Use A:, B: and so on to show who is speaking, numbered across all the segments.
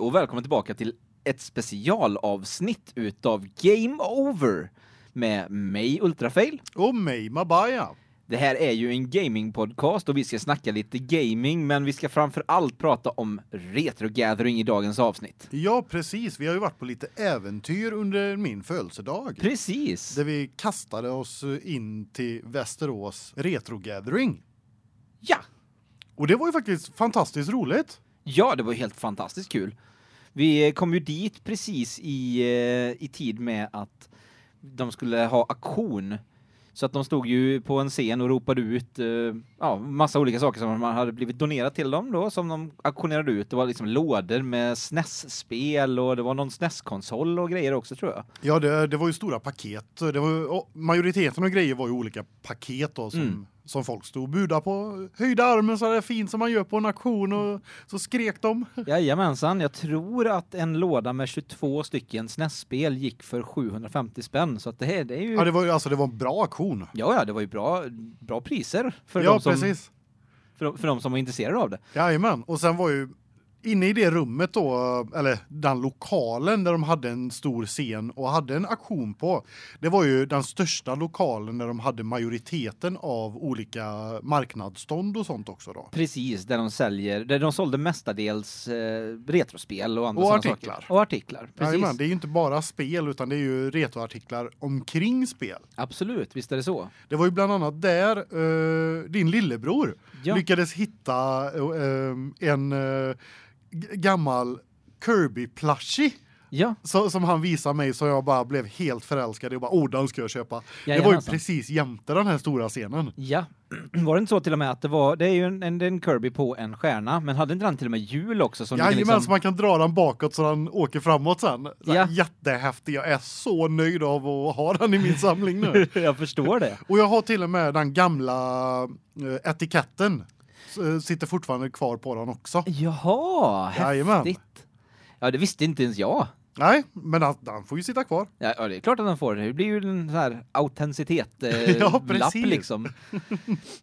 A: och välkommen tillbaka till ett specialavsnitt utav Game Over med mig Ultrafail.
B: Och mig, Mabaya.
A: Det här är ju en gamingpodcast och vi ska snacka lite gaming men vi ska framför allt prata om retrogathering i dagens avsnitt.
B: Ja, precis. Vi har ju varit på lite äventyr under min födelsedag.
A: Precis.
B: Där vi kastade oss in till Västerås Retro Gathering.
A: Ja.
B: Och det var ju faktiskt fantastiskt roligt.
A: Ja, det var helt fantastiskt kul. Vi kom ju dit precis i eh, i tid med att de skulle ha aktion så att de stod ju på en scen och ropade ut eh, ja, massa olika saker som man hade blivit donerat till dem då som de auktionerade ut. Det var liksom lådor med SNES-spel och det var någon SNES-konsol och grejer också tror jag.
B: Ja, det, det var ju stora paket. Det var, och majoriteten av grejer var ju olika paket då, som,
A: Mm.
B: som folk stod och budade på. Höjde armen så där fint som man gör på en auktion och så skrek de.
A: Jajamensan, jag tror att en låda med 22 stycken SNES-spel gick för 750 spänn så att det här det är ju
B: Ja, det var, ju- alltså, det var en bra auktion.
A: Ja ja, det var ju bra bra priser för
B: ja,
A: de som
B: precis.
A: för de, för de som var intresserade av det.
B: Jajamän, och sen var ju inne i det rummet då, eller den lokalen där de hade en stor scen och hade en aktion på. Det var ju den största lokalen där de hade majoriteten av olika marknadsstånd och sånt också då.
A: Precis, där de säljer där de sålde mestadels eh, retrospel och andra
B: Och
A: såna
B: artiklar.
A: saker. Och artiklar. Precis.
B: Jajamän, det är ju inte bara spel utan det är ju retroartiklar omkring spel.
A: Absolut, visst är det så.
B: Det var ju bland annat där eh, din lillebror
A: Ja.
B: lyckades hitta eh, eh, en eh, g- gammal Kirby plushie
A: Ja,
B: så, som han visade mig så jag bara blev helt förälskad. Jag bara, oh, den ska jag köpa. det var ju
A: Jajamensan.
B: precis jämte den här stora scenen.
A: ja. Var det inte så till och med att det var det är ju en en, det är en Kirby på en stjärna, men hade inte den till och med hjul också som du kan
B: Jajamän,
A: liksom-
B: så man kan dra den bakåt så den åker framåt sen. Så här,
A: Ja.
B: Jättehäftig, jag är så nöjd av att ha den i min samling nu.
A: Jag förstår det.
B: Och jag har till och med den gamla eh, etiketten. S- eh, Sitter fortfarande kvar på den också.
A: Jaha,
B: Jajamän.
A: häftigt. Ja, det visste inte ens jag.
B: Nej, men den, den får ju sitta kvar.
A: Ja, ja, det är klart att den får det. Det blir ju en sån här autenticitet eh,
B: Ja, precis.
A: lapp liksom.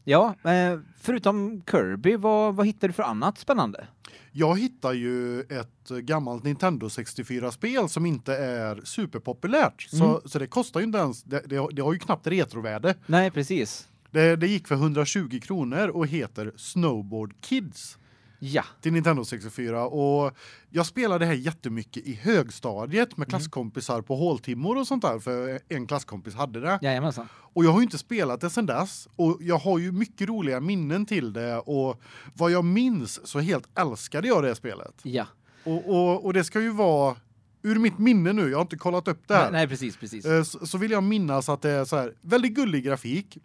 A: Ja, eh, förutom Kirby, vad vad hittar du för annat spännande?
B: Jag hittar ju ett gammalt Nintendo 64-spel som inte är superpopulärt.
A: Mm.
B: Så, så det kostar ju inte ens, det, det, har- det har ju knappt retrovärde.
A: Nej, precis.
B: Det, det gick för 120 kronor och heter Snowboard Kids
A: Ja.
B: till Nintendo 64. Och jag spelade det här jättemycket i högstadiet med klasskompisar på håltimmor och sånt där. För en klasskompis hade det.
A: Jajamensan.
B: Och jag har ju inte spelat det sedan dess och jag har ju mycket roliga minnen till det och vad jag minns så helt älskade jag det här spelet.
A: Ja.
B: Och, och, och det ska ju vara ur mitt minne nu, jag har inte kollat upp det här.
A: Nej, nej, precis, precis.
B: Eh, Så, så vill jag minnas att det är så här väldigt gullig grafik.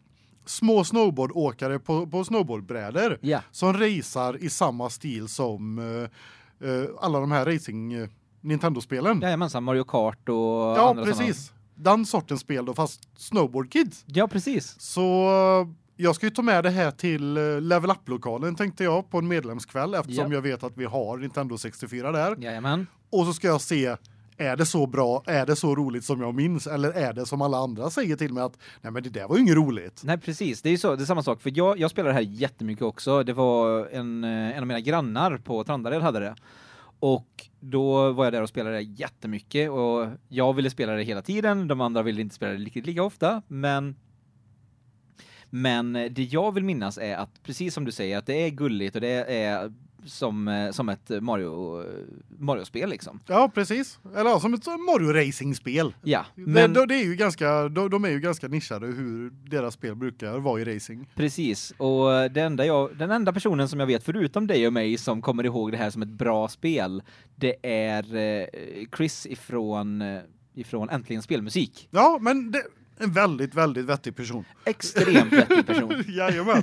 B: Små snowboardåkare på på snowboardbrädor
A: Ja.
B: som racear i samma stil som eh, eh, alla de här racing eh, Nintendo-spelen. Ja,
A: Jajamensan, Mario Kart och andra sådana.
B: precis. Den sortens spel då fast Snowboard Kids.
A: Ja, precis.
B: Så eh, jag ska ju ta med det här till eh, Level Up lokalen tänkte jag på en medlemskväll eftersom
A: Ja.
B: jag vet att vi har Nintendo 64 där.
A: Jajamän.
B: Och så ska jag se är det så bra, är det så roligt som jag minns eller är det som alla andra säger till mig att nej men det där var ju inget roligt.
A: Nej, precis. Det är ju så, det är samma sak för jag jag spelar det här jättemycket också. Det var en eh, en av mina grannar på Trandared hade det. Och då var jag där och spelade det jättemycket och jag ville spela det hela tiden, de andra ville inte spela det riktigt lika ofta, men men det jag vill minnas är att precis som du säger att det är gulligt och det är som eh, som ett Mario Mario spel liksom.
B: Ja, precis. Eller ja, som ett sånt Mario racing spel.
A: Ja,
B: Men det, det är ju ganska de, de är ju ganska nischade hur deras spel brukar vara i racing.
A: Precis, och det enda jag, den enda personen som jag vet förutom dig och mig som kommer ihåg det här som ett bra spel, det är eh, Chris ifrån, eh, ifrån Äntligen Spelmusik.
B: Ja, men det en väldigt väldigt vettig person.
A: Extremt vettig person.
B: Jajamän.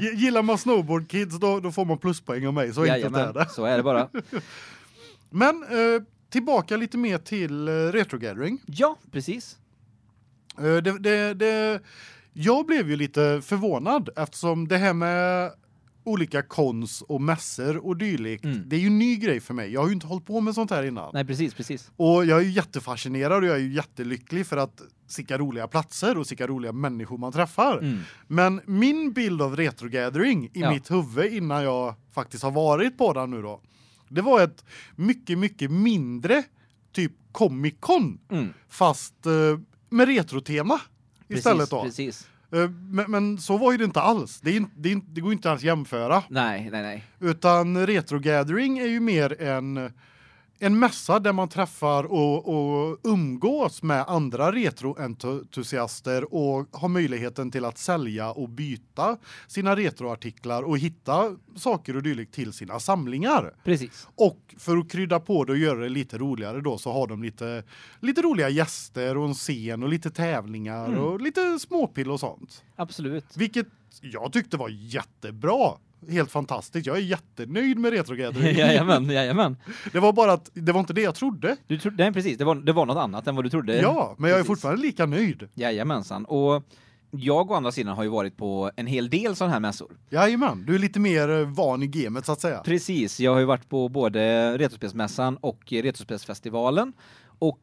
B: G- Gillar man Snowboard Kids då då får man pluspoäng av mig så enkelt är det.
A: så är det bara.
B: Men eh, tillbaka lite mer till eh, Retro Gathering.
A: Ja, precis.
B: Eh, det, det, det, jag blev ju lite förvånad eftersom det här med olika kons och mässor och dylikt,
A: Mm.
B: det är ju en ny grej för mig. Jag har ju inte hållit på med sånt här innan.
A: Nej, precis, precis.
B: Och jag är ju jättefascinerad och jag är ju jättelycklig för att sicka roliga platser och sicka roliga människor man träffar.
A: Mm.
B: Men min bild av retrogathering i
A: Ja.
B: mitt huvud innan jag faktiskt har varit på den nu då, Det var ett mycket, mycket mindre typ Comic Con
A: Mm.
B: fast eh, med retrotema istället
A: precis,
B: då.
A: Precis.
B: Eh, men, men så var ju det inte alls. Det, är, in- det, är, in- det går inte alls att jämföra.
A: Nej, nej, nej.
B: Utan retro gathering är ju mer en en mässa där man träffar och och umgås med andra retroentusiaster och har möjligheten till att sälja och byta sina retroartiklar och hitta saker och dylikt till sina samlingar.
A: Precis.
B: Och för att krydda på det och göra det lite roligare då så har de lite lite roliga gäster och en scen och lite tävlingar
A: Mm.
B: och lite småpill och sånt.
A: Absolut.
B: Vilket jag tyckte var jättebra. Helt fantastiskt. Jag är jättenöjd med Retro Gathering.
A: jajamän, jajamän.
B: Det var bara att det var inte det jag trodde.
A: Du tro, nej, precis. Det var, det var något annat än vad du trodde.
B: ja, men jag är
A: precis.
B: fortfarande lika nöjd.
A: Jajamensan. Och jag å andra sidan har ju varit på en hel del sådana här mässor.
B: Jajamän, du är lite mer eh, van i gamet så att säga.
A: Precis, jag har ju varit på både Retrospelsmässan och Retrospelsfestivalen. Och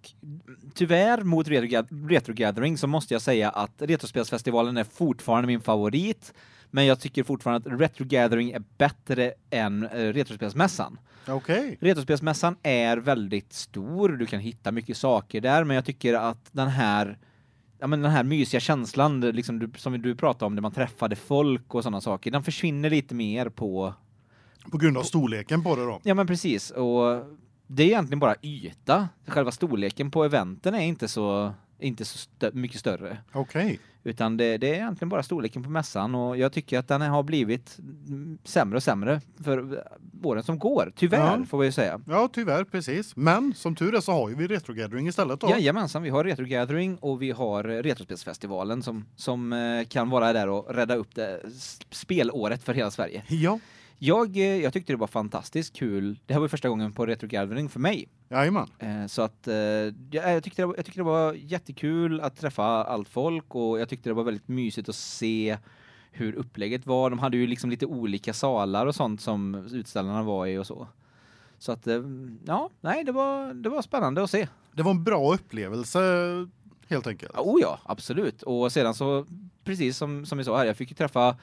A: tyvärr mot Retroga- Retrogathering så måste jag säga att Retrospelsfestivalen är fortfarande min favorit. Men jag tycker fortfarande att Retrogathering är bättre än eh, Retrospelsmässan.
B: Okej.
A: Retrospelsmässan är väldigt stor, du kan hitta mycket saker där, men jag tycker att den här ja men den här mysiga känslan det liksom du, som du pratade om där man träffade folk och sådana saker, den försvinner lite mer på
B: På grund av storleken på det då.
A: Ja men precis och det är egentligen bara yta. Själva storleken på eventen är inte så inte så stö mycket större
B: Okej.
A: utan det det är egentligen bara storleken på mässan och jag tycker att den har blivit mm, sämre och sämre för åren som går. Tyvärr
B: Ja.
A: får vi ju säga.
B: Ja, tyvärr precis. Men som tur är så har ju vi Retro Gathering istället då.
A: Jajamensan, vi har Retro Gathering och vi har eh, Retrospelsfestivalen som, som eh, kan vara där och rädda upp det, s- spelåret för hela Sverige.
B: Ja.
A: Jag, eh, jag tyckte det var fantastiskt kul. Det här var ju första gången på Retro Gathering för mig.
B: Jajamän.
A: Eh, Så att eh, jag, jag, tyckte det, var- jag tyckte det var jättekul att träffa allt folk och jag tyckte det var väldigt mysigt att se hur upplägget var. De hade ju liksom lite olika salar och sånt som utställarna var i och så. Så att eh, ja, nej det var det var spännande att se.
B: Det var en bra upplevelse helt enkelt.
A: Ja, Oh ja, absolut. Och sedan så precis som som vi sa här, jag fick ju träffa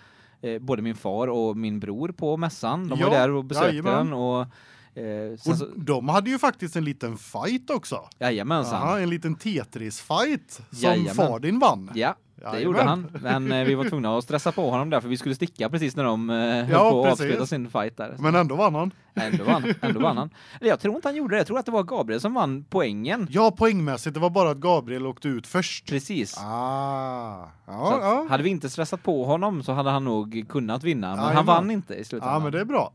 A: eh, både min far och min bror på mässan. De
B: Ja,
A: var ju där och besökte
B: jajamän.
A: den och eh, sen så,
B: Och de hade ju faktiskt en liten fight också.
A: jajamensan.
B: Aha, en liten Tetris-fight som
A: Jajamän.
B: far din vann.
A: Ja, det gjorde han. Men eh, vi var tvungna att stressa på honom där för vi skulle sticka precis när de eh, höll
B: Ja,
A: på att
B: precis.
A: avsluta sin fight där.
B: Men ändå vann han.
A: Ändå vann, ändå vann han. Eller jag tror inte han gjorde det. Jag tror att det var Gabriel som vann poängen.
B: Ja, poängmässigt. Det var bara att Gabriel åkte ut först.
A: Precis.
B: Ah,
A: Så
B: ja,
A: att,
B: ja.
A: Hade vi inte stressat på honom så hade han nog kunnat vinna. Men han
B: Jajamän.
A: vann inte i slutändan.
B: Ja, men det är bra.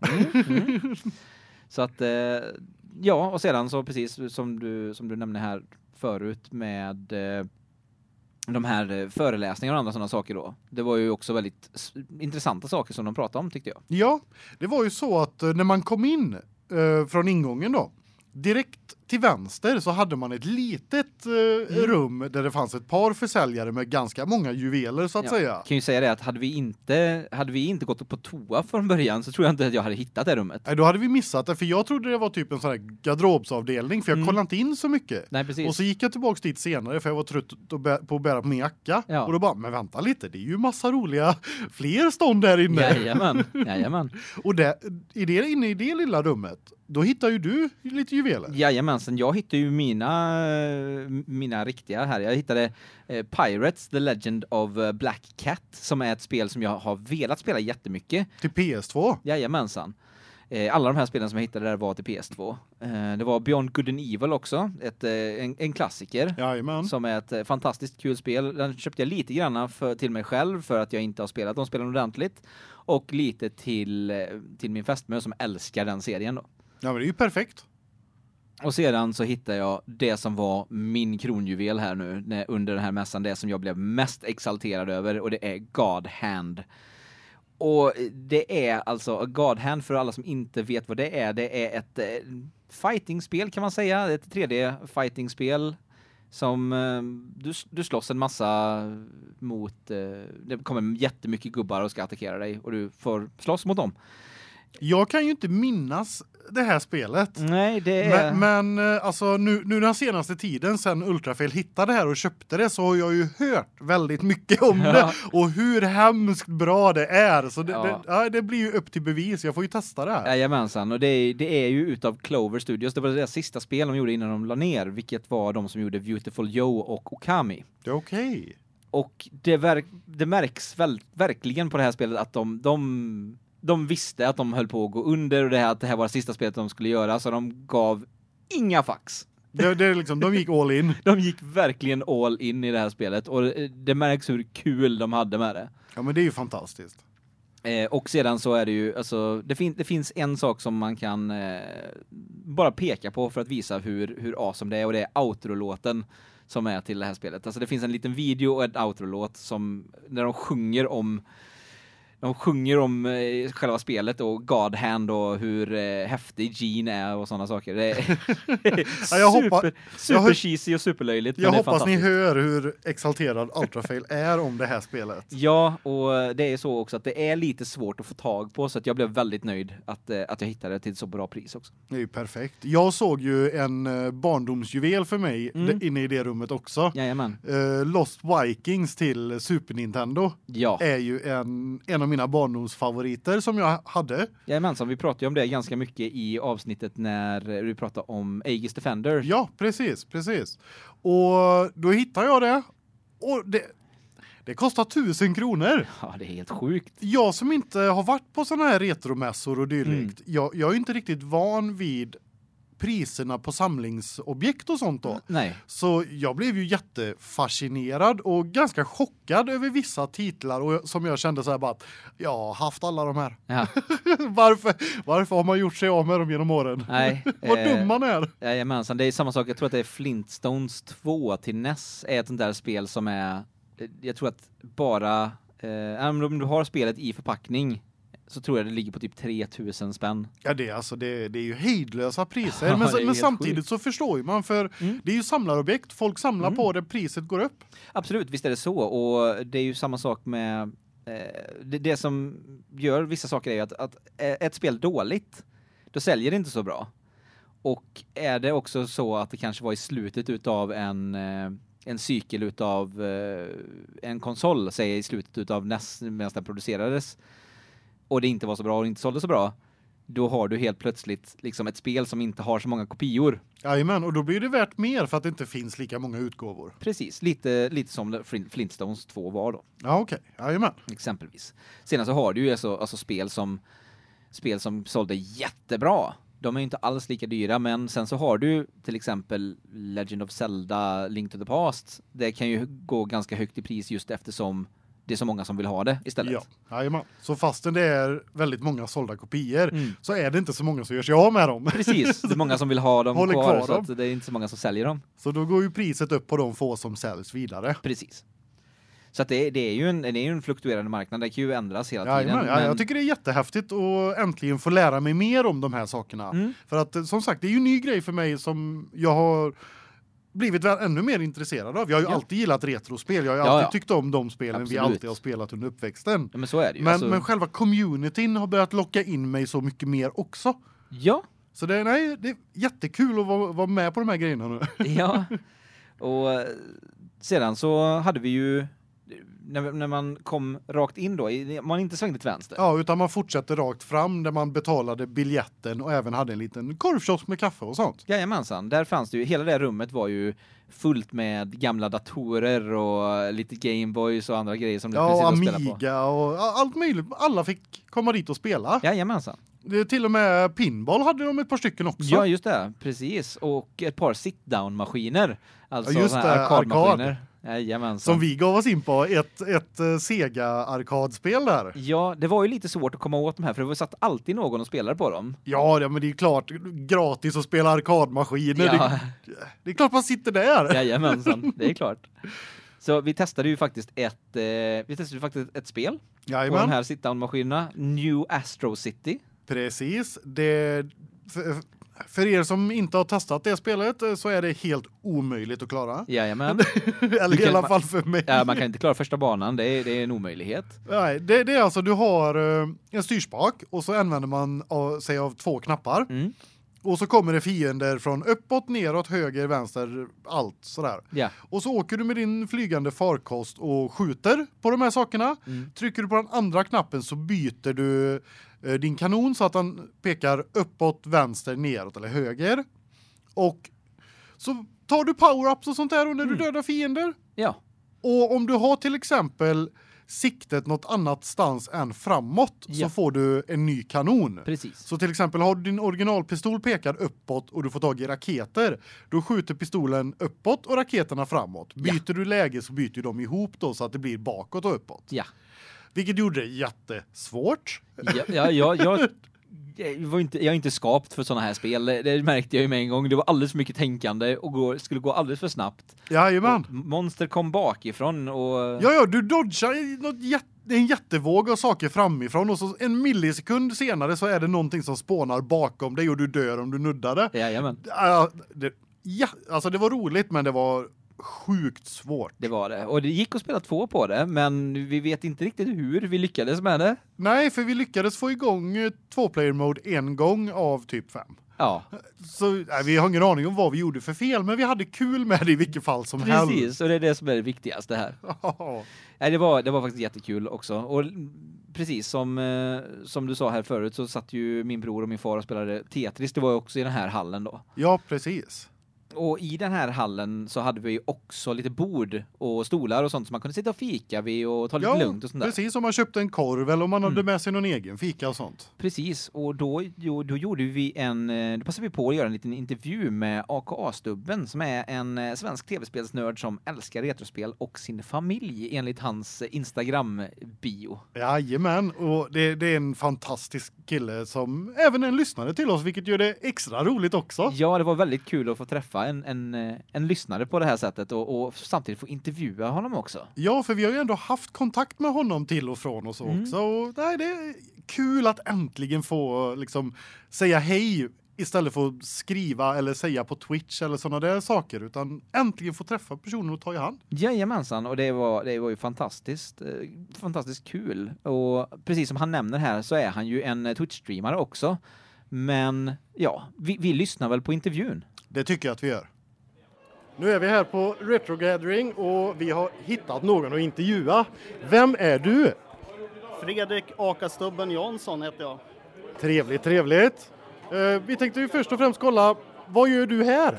A: Så att eh, ja, och sedan så precis som du som du nämnde här förut med eh, de här eh, föreläsningarna och andra sådana saker då. Det var ju också väldigt s- intressanta saker som de pratade om tyckte jag.
B: Ja, det var ju så att eh, när man kom in eh, från ingången då, direkt till vänster så hade man ett litet eh,
A: Mm.
B: rum där det fanns ett par försäljare med ganska många juveler så att
A: Ja.
B: säga.
A: Kan ju säga det att hade vi inte hade vi inte gått på toa från början så tror jag inte att jag hade hittat det rummet.
B: Nej, då hade vi missat det för jag trodde det var typ en sån här garderobsavdelning för jag
A: Mm.
B: kollade inte in så mycket.
A: Nej precis.
B: Och så gick jag tillbaks dit senare för jag var trött att bä- på att bära på min jacka
A: Ja.
B: och då bara men vänta lite det är ju massa roliga fler stånd där inne.
A: Jajamän, jajamän.
B: Och där i det inne i det lilla rummet då hittar ju du lite juveler.
A: Jajamensan, jag hittade ju mina, eh, mina riktiga här. Jag hittade eh, Pirates, The Legend of eh, Black Cat, som är ett spel som jag har velat spela jättemycket.
B: Till PS2.
A: Jajamensan. Eh, alla de här spelen som jag hittade där var till PS2. Eh, det var Beyond Good and Evil också, ett, eh, en, en klassiker.
B: Jajamän.
A: Som är ett eh, fantastiskt kul spel. Den köpte jag lite grann för, till mig själv för att jag inte har spelat de spelen ordentligt. Och lite till, eh, till min fästmö som älskar den serien då.
B: Ja men det är ju perfekt.
A: Och sedan så hittade jag det som var min kronjuvel här nu när, under den här mässan, det som jag blev mest exalterad över och det är God Hand. Och det är alltså God Hand för alla som inte vet vad det är, det är ett eh, fightingspel kan man säga, ett 3D fightingspel som eh, du du slåss en massa mot eh, det kommer jättemycket gubbar och ska attackera dig och du får slåss mot dem.
B: Jag kan ju inte minnas det här spelet.
A: Nej, det är...
B: Men, men eh, alltså nu nu den senaste tiden sen Ultrafail hittade det här och köpte det så har jag ju hört väldigt mycket om
A: Ja.
B: det och hur hemskt bra det är så det,
A: Ja.
B: det, ja, det blir ju upp till bevis. Jag får ju testa det här.
A: Jajamensan, och det är, det är ju utav Clover Studios. Det var deras sista spel de gjorde innan de la ner, vilket var de som gjorde Beautiful Joe och Okami.
B: Det är okej.
A: Och det, verk, det märks väl, verkligen på det här spelet att de, de, de visste att de höll på att gå under och det här, att det här var det sista spelet de skulle göra, så de gav inga fax.
B: Det, det är liksom de gick all in.
A: De gick verkligen all in i det här spelet och eh, det märks hur kul de hade med det.
B: Ja men det är ju fantastiskt.
A: Eh, och sedan så är det ju, alltså, det, fin det finns en sak som man kan eh, bara peka på för att visa hur, hur awesome det är och det är outro-låten som är till det här spelet. Alltså det finns en liten video och en outro-låt som, när de sjunger om de sjunger om eh, själva spelet och God Hand och hur eh, häftig Gene är och sådana saker. Det är
B: Ja, jag hoppas-
A: super,
B: jag
A: super
B: hop-
A: cheesy och superlöjligt. men
B: Jag
A: det är
B: hoppas ni
A: fantastiskt.
B: hör hur exalterad Ultrafail är om det här spelet.
A: Ja, och det är så också att det är lite svårt att få tag på så att jag blev väldigt nöjd att eh, att jag hittade det till så bra pris också.
B: Det är ju perfekt. Jag såg ju en eh, barndomsjuvel för mig
A: Mm.
B: d- inne i det rummet också.
A: Jajamän.
B: Eh, Lost Vikings till Super Nintendo
A: Ja,
B: är ju en en av mina barndomsfavoriter som jag hade.
A: jajamän, så vi pratade ju om det ganska mycket i avsnittet när eh, vi pratade om Aegis Defender.
B: Ja, precis, precis. Och då hittade jag det och det det kostar 1000 kronor.
A: Ja, det är helt sjukt.
B: Jag som inte har varit på såna här retromässor och dylikt. Jag jag är ju inte riktigt van vid priserna på samlingsobjekt och sånt då.
A: Nej.
B: Så jag blev ju jättefascinerad och ganska chockad över vissa titlar och som jag kände så här bara att jag har haft alla de här.
A: Ja,
B: varför varför har man gjort sig av med dem genom åren?
A: nej.
B: Vad
A: eh,
B: dum man är.
A: Jajamensan, det är samma sak. Jag tror att det är Flintstones 2 till NES är ett sånt där spel som är eh, jag tror att bara eh, om du har spelet i förpackning så tror jag det ligger på typ 3000 spänn.
B: Ja det är alltså det det är ju hejdlösa priser
A: Ja,
B: men
A: det är
B: men
A: helt
B: samtidigt
A: sjukt.
B: så förstår ju man för
A: Mm.
B: det är ju samlarobjekt folk samlar
A: Mm.
B: på det priset går upp.
A: Absolut, visst är det så och det är ju samma sak med eh, det, det som gör vissa saker är ju att, att är ett spel dåligt då säljer det inte så bra. Och är det också så att det kanske var i slutet utav en eh, en cykel utav eh, en konsol säg i slutet utav näst medan den producerades och det inte var så bra och inte sålde så bra då har du helt plötsligt liksom ett spel som inte har så många kopior.
B: Ja men och då blir det värt mer för att det inte finns lika många utgåvor.
A: Precis, lite lite som Flint- Flintstones 2 var då.
B: Ja okej. Ja men.
A: exempelvis. Sen så har du ju alltså, alltså spel som spel som sålde jättebra. De är ju inte alls lika dyra, men sen så har du till exempel Legend of Zelda Link to the Past. Det kan ju gå ganska högt i pris just eftersom det är så många som vill ha det istället.
B: Ja. Ja men. Så fastän det är väldigt många sålda kopior
A: Mm.
B: så är det inte så många som gör sig av med dem.
A: Precis, det är många som vill ha dem
B: Håller
A: kvar
B: kvar
A: så
B: dem.
A: att det är inte så många som säljer dem.
B: Så då går ju priset upp på de få som säljs vidare.
A: Precis. Så att det, det är ju en det är ju en fluktuerande marknad. Det kan ju ändras hela tiden.
B: Jajamän, ja, jag tycker det är jättehäftigt att äntligen få lära mig mer om de här sakerna.
A: Mm.
B: För att eh, som sagt, det är ju en ny grej för mig som jag har blivit väl ännu mer intresserad av. Jag har ju
A: Ja.
B: alltid gillat retrospel. Jag har ju
A: Ja,
B: alltid
A: ja.
B: tyckt om de spelen vi
A: Absolut.
B: alltid har spelat under uppväxten.
A: ja, men så är det ju.
B: Men
A: alltså,
B: men själva communityn har börjat locka in mig så mycket mer också.
A: ja,
B: Så det nej, det är jättekul att vara, vara med på de här grejerna nu.
A: Ja. Och eh, sedan så hade vi ju när när man kom rakt in då i- man inte svängde till vänster.
B: Ja, utan man fortsätter rakt fram där man betalade biljetten och även hade en liten korvkiosk med kaffe och sånt.
A: Jajamensan, där fanns det ju hela det rummet var ju fullt med gamla datorer och lite Gameboys och andra grejer som du kunde
B: Ja,
A: sitta
B: och
A: och spela på.
B: Amiga och a- allt möjligt. Alla fick komma dit och spela.
A: Jajamensan.
B: Det är till och med pinball hade de ett par stycken också.
A: Ja, just det. Precis. Och ett par sit down maskiner, alltså
B: Ja, just
A: såna här
B: det,
A: arkadmaskiner. Jajamensan.
B: som vi gav oss in på ett ett eh, Sega arkadspel där.
A: Ja, det var ju lite svårt att komma åt de här för det var satt alltid någon och spelade på dem.
B: Ja, det- men det är ju klart gratis att spela arkadmaskiner.
A: Ja.
B: Det, det är klart man sitter där.
A: Jajamensan, det är klart. Så vi testade ju faktiskt ett eh, vi testade ju faktiskt ett spel på de
B: Jajamän.
A: här sit down maskinerna New Astro City.
B: Precis. Det för, För er som inte har testat det spelet eh, så är det helt omöjligt att klara.
A: Jajamän.
B: Eller
A: Du
B: i
A: kan-
B: alla fall för mig.
A: Ja, man kan inte klara första banan, det är, det är en omöjlighet.
B: Nej, det, det är alltså du har eh, en styrspak och så använder man av, sig av två knappar.
A: Mm.
B: Och så kommer det fiender från uppåt, neråt, höger, vänster, allt sådär.
A: Ja.
B: Och så åker du med din flygande farkost och skjuter på de här sakerna.
A: Mm.
B: Trycker du på den andra knappen så byter du eh, din kanon så att den pekar uppåt, vänster, neråt eller höger. Och så tar du power-ups och sånt där och när du
A: Mm.
B: dödar fiender.
A: Ja.
B: Och om du har till exempel siktet något annat stans än framåt
A: Ja.
B: så får du en ny kanon.
A: Precis.
B: Så till exempel har du din originalpistol pekad uppåt och du får tag i raketer, då skjuter pistolen uppåt och raketerna framåt.
A: Ja.
B: Byter du läge så byter ju de ihop då så att det blir bakåt och uppåt.
A: Ja.
B: Vilket gjorde det jättesvårt.
A: Ja, ja, ja, jag, jag, var inte, jag är inte skapt för såna här spel. Det- Det märkte jag ju med en gång. Det var alldeles för mycket tänkande och går, skulle gå alldeles för snabbt.
B: Jajamän.
A: Och Monster kom bakifrån och...
B: Ja, ja, du dodgar i något jätte, en jättevåg av saker framifrån och så en millisekund senare så är det någonting som spånar bakom dig och du dör om du nuddar det.
A: Jajamän,
B: Ja, det, ja alltså det var roligt men det var sjukt svårt.
A: det var det. Och det gick att spela två på det, men vi vet inte riktigt hur vi lyckades med det.
B: Nej, för vi lyckades få igång eh, tvåplayer-mode en gång av typ fem.
A: Ja,
B: Så nej, vi har ingen aning om vad vi gjorde för fel, men vi hade kul med det i vilket fall som helst.
A: precis. Och det är det som är det viktigaste här.
B: Ja.
A: Nej, det var det var faktiskt jättekul också och precis som eh, som du sa här förut så satt ju min bror och min far och spelade Tetris. Det var ju också i den här hallen då.
B: ja, precis.
A: Och i den här hallen så hade vi ju också lite bord och stolar och sånt som man kunde sitta och fika vid och ta lite
B: Ja,
A: lugnt och sånt där.
B: Precis som man köpte en korv eller om man hade
A: Mm.
B: med sig någon egen fika och sånt.
A: Precis, och då, jo, då gjorde vi en, eh, då passade vi på att göra en liten intervju med AKA-stubben som är en eh, svensk tv-spelsnörd som älskar retrospel och sin familj enligt hans eh, Instagram-bio.
B: Jajamän, och det, det är en fantastisk kille som även är en lyssnare till oss, vilket gör det extra roligt också.
A: Ja, det var väldigt kul att få träffa en, en, eh, en lyssnare på det här sättet och, och samtidigt få intervjua honom också.
B: Ja, för vi har ju ändå haft kontakt med honom till och från och så
A: Mm.
B: också. Och, nej, det är kul att äntligen få liksom säga hej istället för att skriva eller säga på Twitch eller såna där saker utan äntligen få träffa personen och ta i hand.
A: Jajamensan, och det var, det var ju fantastiskt, eh, fantastiskt kul. Och precis som han nämner här så är han ju en eh, Twitch-streamare också. Men ja, vi, vi lyssnar väl på intervjun.
B: Det tycker jag att vi gör.
C: Nu är vi här på Retro Gathering och vi har hittat någon att intervjua. Vem är du?
D: Fredrik Akastubben Jansson heter jag.
C: Trevligt, trevligt. Eh, vi tänkte ju först och främst kolla, vad gör du här?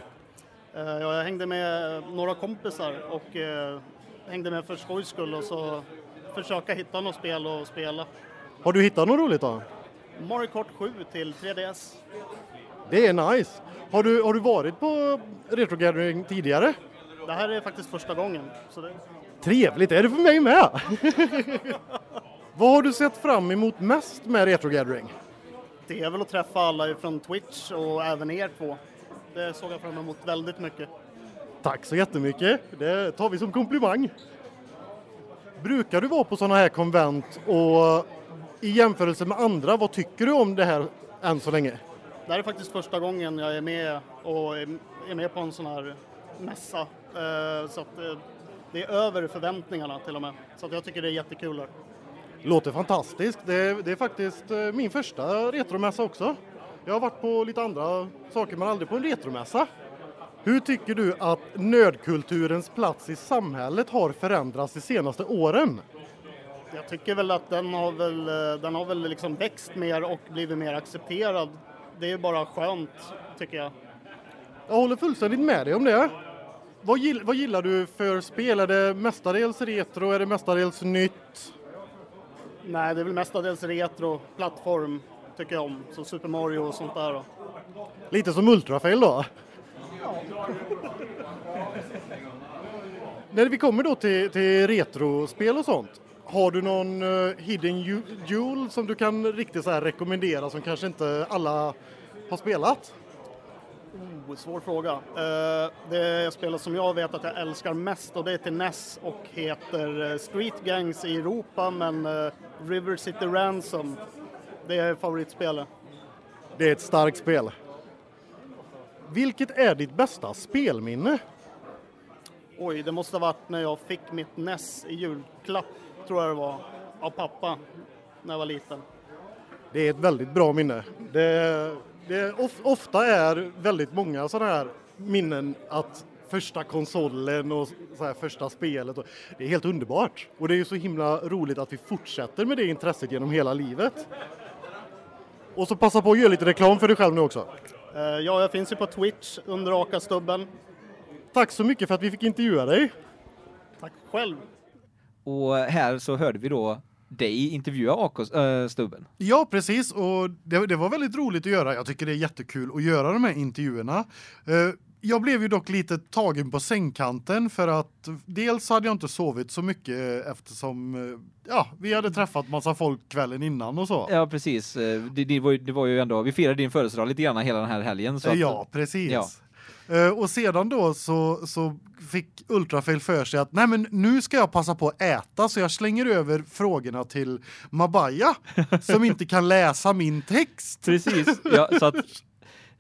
D: Eh, Jag hängde med några kompisar och eh, hängde med för skojs skull och så försöka hitta något spel att spela.
C: Har du hittat något roligt då?
D: Mario Kart 7 till 3DS.
C: Det är nice. Har du, har du varit på Retro Gathering tidigare?
D: Det här är faktiskt första gången. Så det,
C: Trevligt, är det för mig med? vad har du sett fram emot mest med Retro Gathering?
D: det är väl att träffa alla från Twitch och även er två. Det såg jag fram emot väldigt mycket.
C: Tack så jättemycket, det tar vi som komplimang. Brukar du vara på sådana här konvent och i jämförelse med andra, vad tycker du om det här än så länge?
D: Det här är faktiskt första gången jag är med och är- är med på en sån här mässa. Eh, Så att eh, det är över förväntningarna till och med. Så att jag tycker det är jättekul här.
C: Låter fantastiskt, det är, det är faktiskt eh, min första retromässa också. Jag har varit på lite andra saker men aldrig på en retromässa. Hur tycker du att nördkulturens plats i samhället har förändrats de senaste åren?
D: Jag tycker väl att den har väl, eh, den har väl liksom växt mer och blivit mer accepterad. Det är ju bara skönt, tycker jag.
C: Jag håller fullständigt med dig om det. Vad, gill, vad gillar du för spel? Är det mestadels retro? Är det mestadels nytt?
D: Nej, det är väl mestadels retro, plattform, tycker jag om. Så Super Mario och sånt där. Då.
C: Lite som Ultrafail då? När vi kommer då till, till retrospel och sånt. Har du någon eh, hidden ju- jewel som du kan riktigt så här rekommendera som kanske inte alla har spelat?
D: Oh, svår fråga. Eh, Det spel som jag vet att jag älskar mest och det är till NES och heter eh, Street Gangs i Europa men eh, River City Ransom, det är favoritspelet.
C: Det är ett starkt spel. Vilket är ditt bästa spelminne?
D: Oj, det måste ha varit när jag fick mitt NES i julklapp, tror jag det var, av pappa när jag var liten.
C: Det är ett väldigt bra minne. Det, det of, ofta är väldigt många sådana här minnen att första konsolen och så här första spelet. Och, det är helt underbart och det är ju så himla roligt att vi fortsätter med det intresset genom hela livet. Och så passa på att göra lite reklam för dig själv nu också.
D: Eh, Ja, jag finns ju på Twitch under Akastubben.
C: Tack så mycket för att vi fick intervjua dig.
D: Tack själv!
A: Och här så hörde vi då dig intervjua eh, AK-stubben.
B: Ja, precis. Och det, det var väldigt roligt att göra. Jag tycker det är jättekul att göra de här intervjuerna. Eh, jag blev ju dock lite tagen på sängkanten för att dels hade jag inte sovit så mycket eftersom eh, ja, vi hade träffat massa folk kvällen innan och så.
A: Ja, precis. Eh, Det, det, var ju, det var ju ändå, vi firade din födelsedag lite grann hela den här helgen. Så att-
B: ja, precis.
A: Ja.
B: Eh, och sedan då så så fick Ultrafail för sig att nej men nu ska jag passa på att äta så jag slänger över frågorna till Mabaya som inte kan läsa min text.
A: Precis. Ja, så att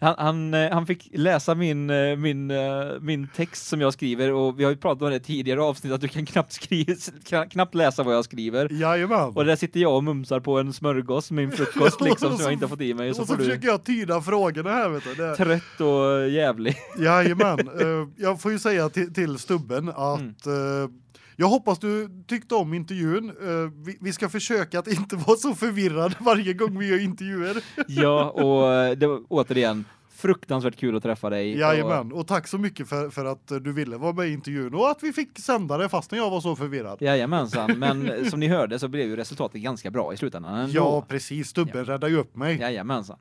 A: han, han, eh, han fick läsa min, eh, min, eh, min text som jag skriver och vi har ju pratat om det i tidigare avsnitt att du kan knappt, skriva, kan knappt läsa vad jag skriver.
B: Jajamän.
A: Och där sitter jag och mumsar på en smörgås, min frukost liksom, som jag inte har fått i mig.
B: Och
A: Så
B: så,
A: får du
B: försöker jag tyda frågorna här vet du. Det,
A: trött och jävlig.
B: jajamän. Eh, jag får ju säga till, till stubben att
A: Mm.
B: eh, jag hoppas du tyckte om intervjun. Eh, vi, vi ska försöka att inte vara så förvirrade varje gång vi gör intervjuer.
A: Ja, och eh, det var återigen fruktansvärt kul att träffa dig. Och,
B: Jajamän. Och tack så mycket för, för att eh, du ville vara med i intervjun och att vi fick sända det fastän jag var så förvirrad.
A: jajamensan, men som ni hörde så blev ju resultatet ganska bra i slutändan ändå.
B: Ja, precis. Stubben räddade ju upp mig.
A: Jajamensan.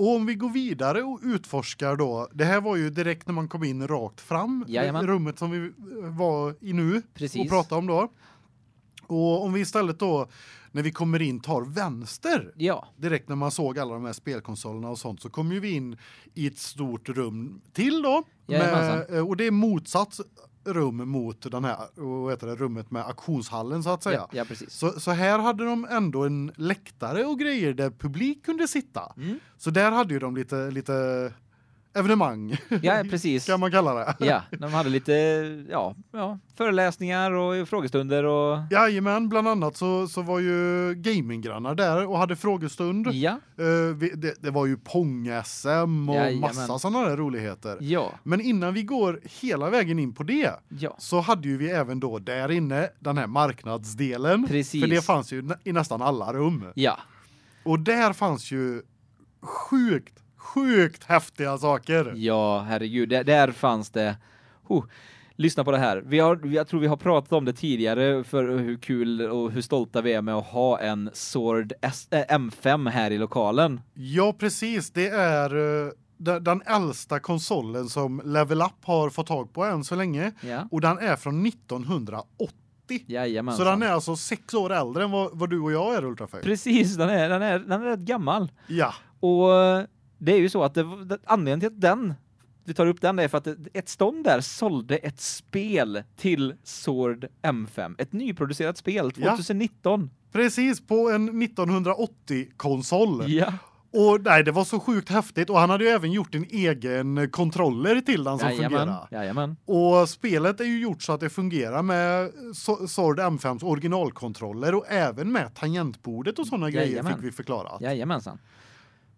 B: Och om vi går vidare och utforskar då. Det här var ju direkt när man kom in rakt fram.
A: Jajamän.
B: Rummet som vi eh, var i nu.
A: Precis.
B: och prata om då. Och om vi istället då när vi kommer in tar vänster
A: Ja.
B: direkt när man såg alla de här spelkonsolerna och sånt så kommer ju vi in i ett stort rum till då
A: Jajamensan.
B: eh, och det är motsatt rum mot den här vad heter det rummet med auktionshallen så att säga.
A: Ja, ja, precis.
B: Så så här hade de ändå en läktare och grejer där publik kunde sitta.
A: Mm.
B: Så där hade ju de lite lite evenemang
A: Ja, precis.
B: kan man kalla det.
A: Ja, de hade lite ja, ja, föreläsningar och frågestunder och
B: Jajamän, bland annat så, så var ju gaminggrannar där och hade frågestund.
A: ja,
B: Eh, vi, det, det var ju Pong-SM och
A: Jajamän.
B: massa sådana där roligheter.
A: ja,
B: Men innan vi går hela vägen in på det
A: ja,
B: så hade ju vi även då där inne den här marknadsdelen.
A: Precis.
B: För det fanns ju nä- i nästan alla rum.
A: ja,
B: Och där fanns ju sjukt, sjukt häftiga saker.
A: ja, herregud, där, där fanns det. Ho, lyssna på det här. Vi har, jag tror vi har pratat om det tidigare för hur kul och hur stolta vi är med att ha en Sword S, äh, M5 här i lokalen.
B: Ja, precis. Det är eh, de- den äldsta konsolen som Level Up har fått tag på än så länge.
A: Ja,
B: Och den är från 1980.
A: jajamensan.
B: Så den är alltså sex år äldre än vad, vad du och jag är Ultrafail.
A: Precis, den är, den är, den är rätt gammal.
B: Ja,
A: Och eh, det är ju så att det, det, anledningen till att den vi tar upp den är för att det- ett stånd där sålde ett spel till Sword M5, ett nyproducerat spel
B: Ja.
A: 2019.
B: precis på en 1980 konsol.
A: Ja,
B: Och nej, det var så sjukt häftigt och han hade ju även gjort en egen kontroller till den som
A: jajamän.
B: fungerar.
A: Jajamän.
B: Och spelet är ju gjort så att det fungerar med So- Sword M5s originalkontroller och även med tangentbordet och såna grejer
A: Jajamän.
B: fick vi förklara.
A: Jajamensan.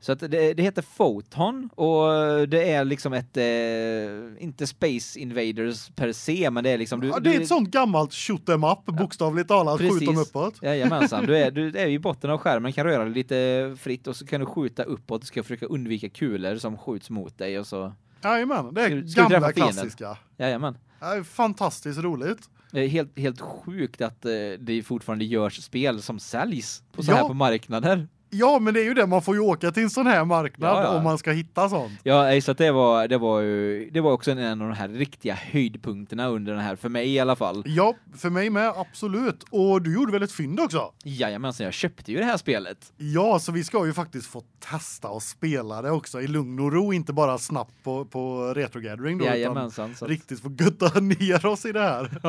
A: Så att det, det heter Photon och det är liksom ett eh, inte Space Invaders per se, men det är liksom du
B: ja, det är
A: du-
B: ett sånt gammalt shoot em up bokstavligt talat
A: Precis.
B: skjut dem uppåt.
A: Jajamensan, du är, du är ju i botten av skärmen, kan röra dig lite fritt och så kan du skjuta uppåt, du ska försöka undvika kulor som skjuts mot dig och så,
B: Jajamän, det är
A: Ska- ska vi
B: gamla
A: träffa fienden?
B: klassiska.
A: jajamän.
B: Ja, fantastiskt roligt.
A: Det är helt, helt sjukt att eh, det fortfarande görs spel som säljs på så
B: Ja.
A: här på marknader.
B: Ja, men det är ju det man får ju åka till en sån här marknad
A: Ja, ja.
B: om man ska hitta sånt.
A: Ja, nej, så att det var, det var ju, det var också en, en av de här riktiga höjdpunkterna under den här, för mig i alla fall.
B: Ja, för mig med absolut. Och du gjorde väl ett fynd också?
A: Jajamensan, jag köpte ju det här spelet.
B: Ja, så vi ska ju faktiskt få testa och spela det också i lugn och ro, inte bara snabbt på på Retro Gathering då utan
A: Jajamensan. Så att,
B: riktigt få gutta ner oss i det här.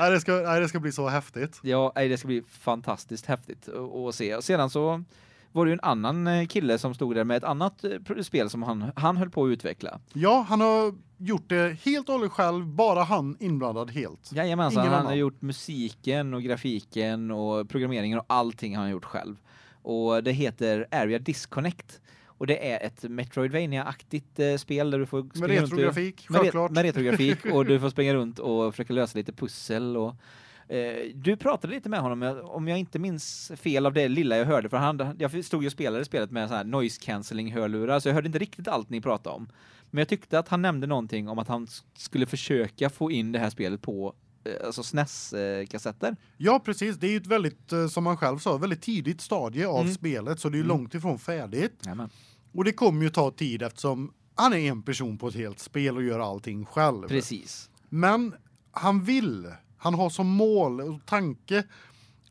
B: Nej, det ska nej, det ska bli så häftigt.
A: Ja, nej, det ska bli fantastiskt häftigt att att se. Och sedan så var det ju en annan eh, kille som stod där med ett annat eh, pro- spel som han, han höll på att utveckla.
B: Ja, han har gjort det helt och hållet själv, bara han inblandad helt.
A: Jajamensan,
B: Ingen
A: han har
B: annan.
A: gjort musiken och grafiken och programmeringen och allting har han gjort själv. Och det heter Area Disconnect. Och det är ett Metroidvania-aktigt eh, spel där du får
B: Med
A: springa runt och-
B: retrografik,
A: med, re-
B: självklart.
A: med retrografik och du får springa runt och försöka lösa lite pussel och eh, du pratade lite med honom jag- om jag inte minns fel av det lilla jag hörde för han jag stod ju och spelade spelet med så här noise cancelling hörlurar så jag hörde inte riktigt allt ni pratade om. Men jag tyckte att han nämnde någonting om att han s- skulle försöka få in det här spelet på eh, alltså SNES eh, kassetter.
B: Ja, precis. Det är ju ett väldigt, eh, som han själv sa, väldigt tidigt stadie av
A: Mm.
B: spelet. Så det är ju
A: Mm.
B: långt ifrån färdigt.
A: Jajamän.
B: Och det kommer ju ta tid eftersom han är en person på ett helt spel och gör allting själv.
A: Precis.
B: Men han vill, han har som mål och tanke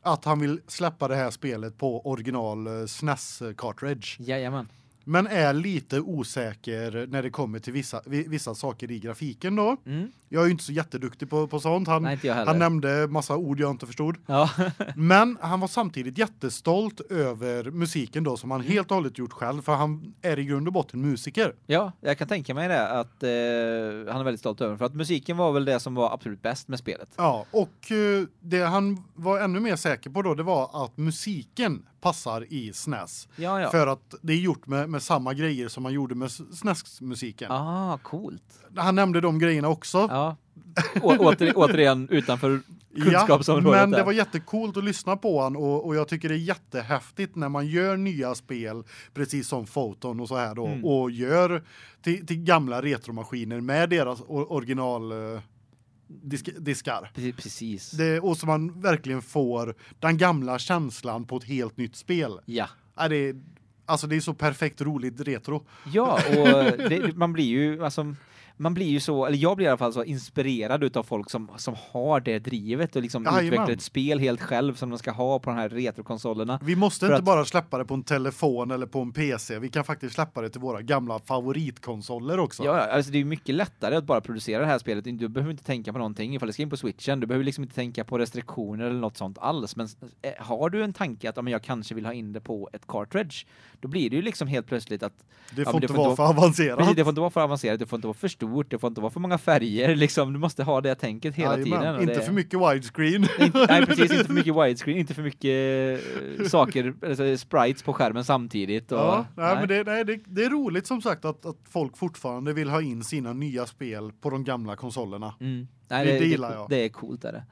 B: att han vill släppa det här spelet på original eh, SNES cartridge.
A: Jajamän.
B: Men är lite osäker när det kommer till vissa vi- vissa saker i grafiken då.
A: Mm.
B: Jag är ju inte så jätteduktig på på sånt. Han
A: Nej, inte jag heller.
B: han nämnde massa ord jag inte förstod.
A: ja.
B: Men han var samtidigt jättestolt över musiken då som han helt och hållet gjort själv för han är i grund och botten musiker.
A: ja, jag kan tänka mig det att eh, han är väldigt stolt över det, för att musiken var väl det som var absolut bäst med spelet.
B: Ja, och eh, det han var ännu mer säker på då det var att musiken passar i SNES
A: Ja, ja.
B: för att det är gjort med med samma grejer som man gjorde med SNES musiken.
A: Ah, coolt.
B: Han nämnde de grejerna också.
A: Ja. Å- åter, återigen utanför kunskapsområdet.
B: Ja, men det
A: där.
B: var jättekult att lyssna på han och och jag tycker det är jättehäftigt när man gör nya spel precis som Photon och så här då
A: Mm.
B: och gör till till gamla retromaskiner med deras o- original eh, disk, diskar.
A: Pre- Precis.
B: Det och så man verkligen får den gamla känslan på ett helt nytt spel.
A: Ja.
B: Ja, det alltså det är så perfekt roligt retro.
A: Ja, och det, man blir ju alltså man blir ju så eller jag blir i alla fall så inspirerad utav folk som som har det drivet och liksom
B: Jajamän.
A: utvecklar ett spel helt själv som de ska ha på de här retrokonsolerna.
B: Vi måste
A: För
B: inte
A: att-
B: bara släppa det på en telefon eller på en PC. Vi kan faktiskt släppa det till våra gamla favoritkonsoler också.
A: Ja, ja, alltså det är ju mycket lättare att bara producera det här spelet. Du behöver inte tänka på någonting ifall det ska in på switchen. Du behöver liksom inte tänka på restriktioner eller något sånt alls. Men eh, har du en tanke att om jag kanske vill ha in det på ett cartridge, då blir det ju liksom helt plötsligt att
B: Det
A: Ja,
B: får
A: men det
B: inte
A: får
B: vara
A: inte
B: för avancerat.
A: Precis, det får inte vara för avancerat, det får inte vara för stort, det får inte vara för många färger liksom. Du måste ha det tänket hela
B: Jajamän.
A: tiden. och
B: Inte
A: det...
B: för mycket widescreen.
A: Inte, nej precis, inte för mycket widescreen, inte för mycket eh, saker, alltså, sprites på skärmen samtidigt. Och,
B: ja, nej, men det, nej, det, det är roligt som sagt att, att folk fortfarande vill ha in sina nya spel på de gamla konsolerna.
A: Mm. Nej,
B: det
A: det, det,
B: gillar
A: det,
B: jag.
A: Det är coolt är det.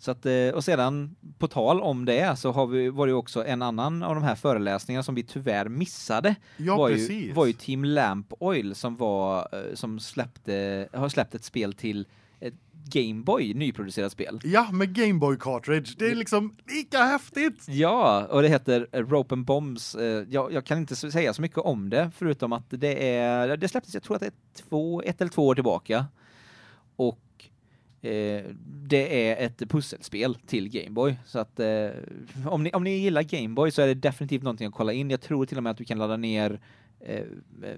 A: Så att, eh, och sedan, på tal om det, så har vi, var det ju också en annan av de här föreläsningarna som vi tyvärr missade.
B: Ja,
A: var,
B: precis.
A: ju, var ju Team Lamp Oil som, var, eh, som släppte, har släppt ett spel till ett Game Boy, nyproducerat spel.
B: Ja, med Game Boy cartridge. Det är liksom lika häftigt.
A: Ja, och det heter eh, Rope and Bombs. Eh, Jag, jag kan inte s- säga så mycket om det förutom att det är det släpptes jag tror att det är två, ett eller två år tillbaka. Och eh, det är ett pusselspel till Gameboy så att eh, om ni om ni gillar Gameboy så är det definitivt någonting att kolla in. Jag tror till och med att du kan ladda ner eh,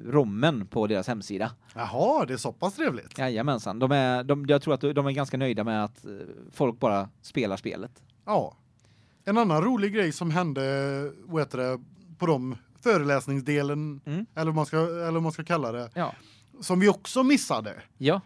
A: rommen på deras hemsida.
B: Jaha, det är så pass trevligt. Ja,
A: Jajamensan. De är de jag tror att de är ganska nöjda med att eh, folk bara spelar spelet.
B: En annan rolig grej som hände, vad heter det, på de föreläsningsdelen
A: Mm.
B: eller vad man ska eller vad man ska kalla det,
A: Ja.
B: som vi också missade.
A: Ja.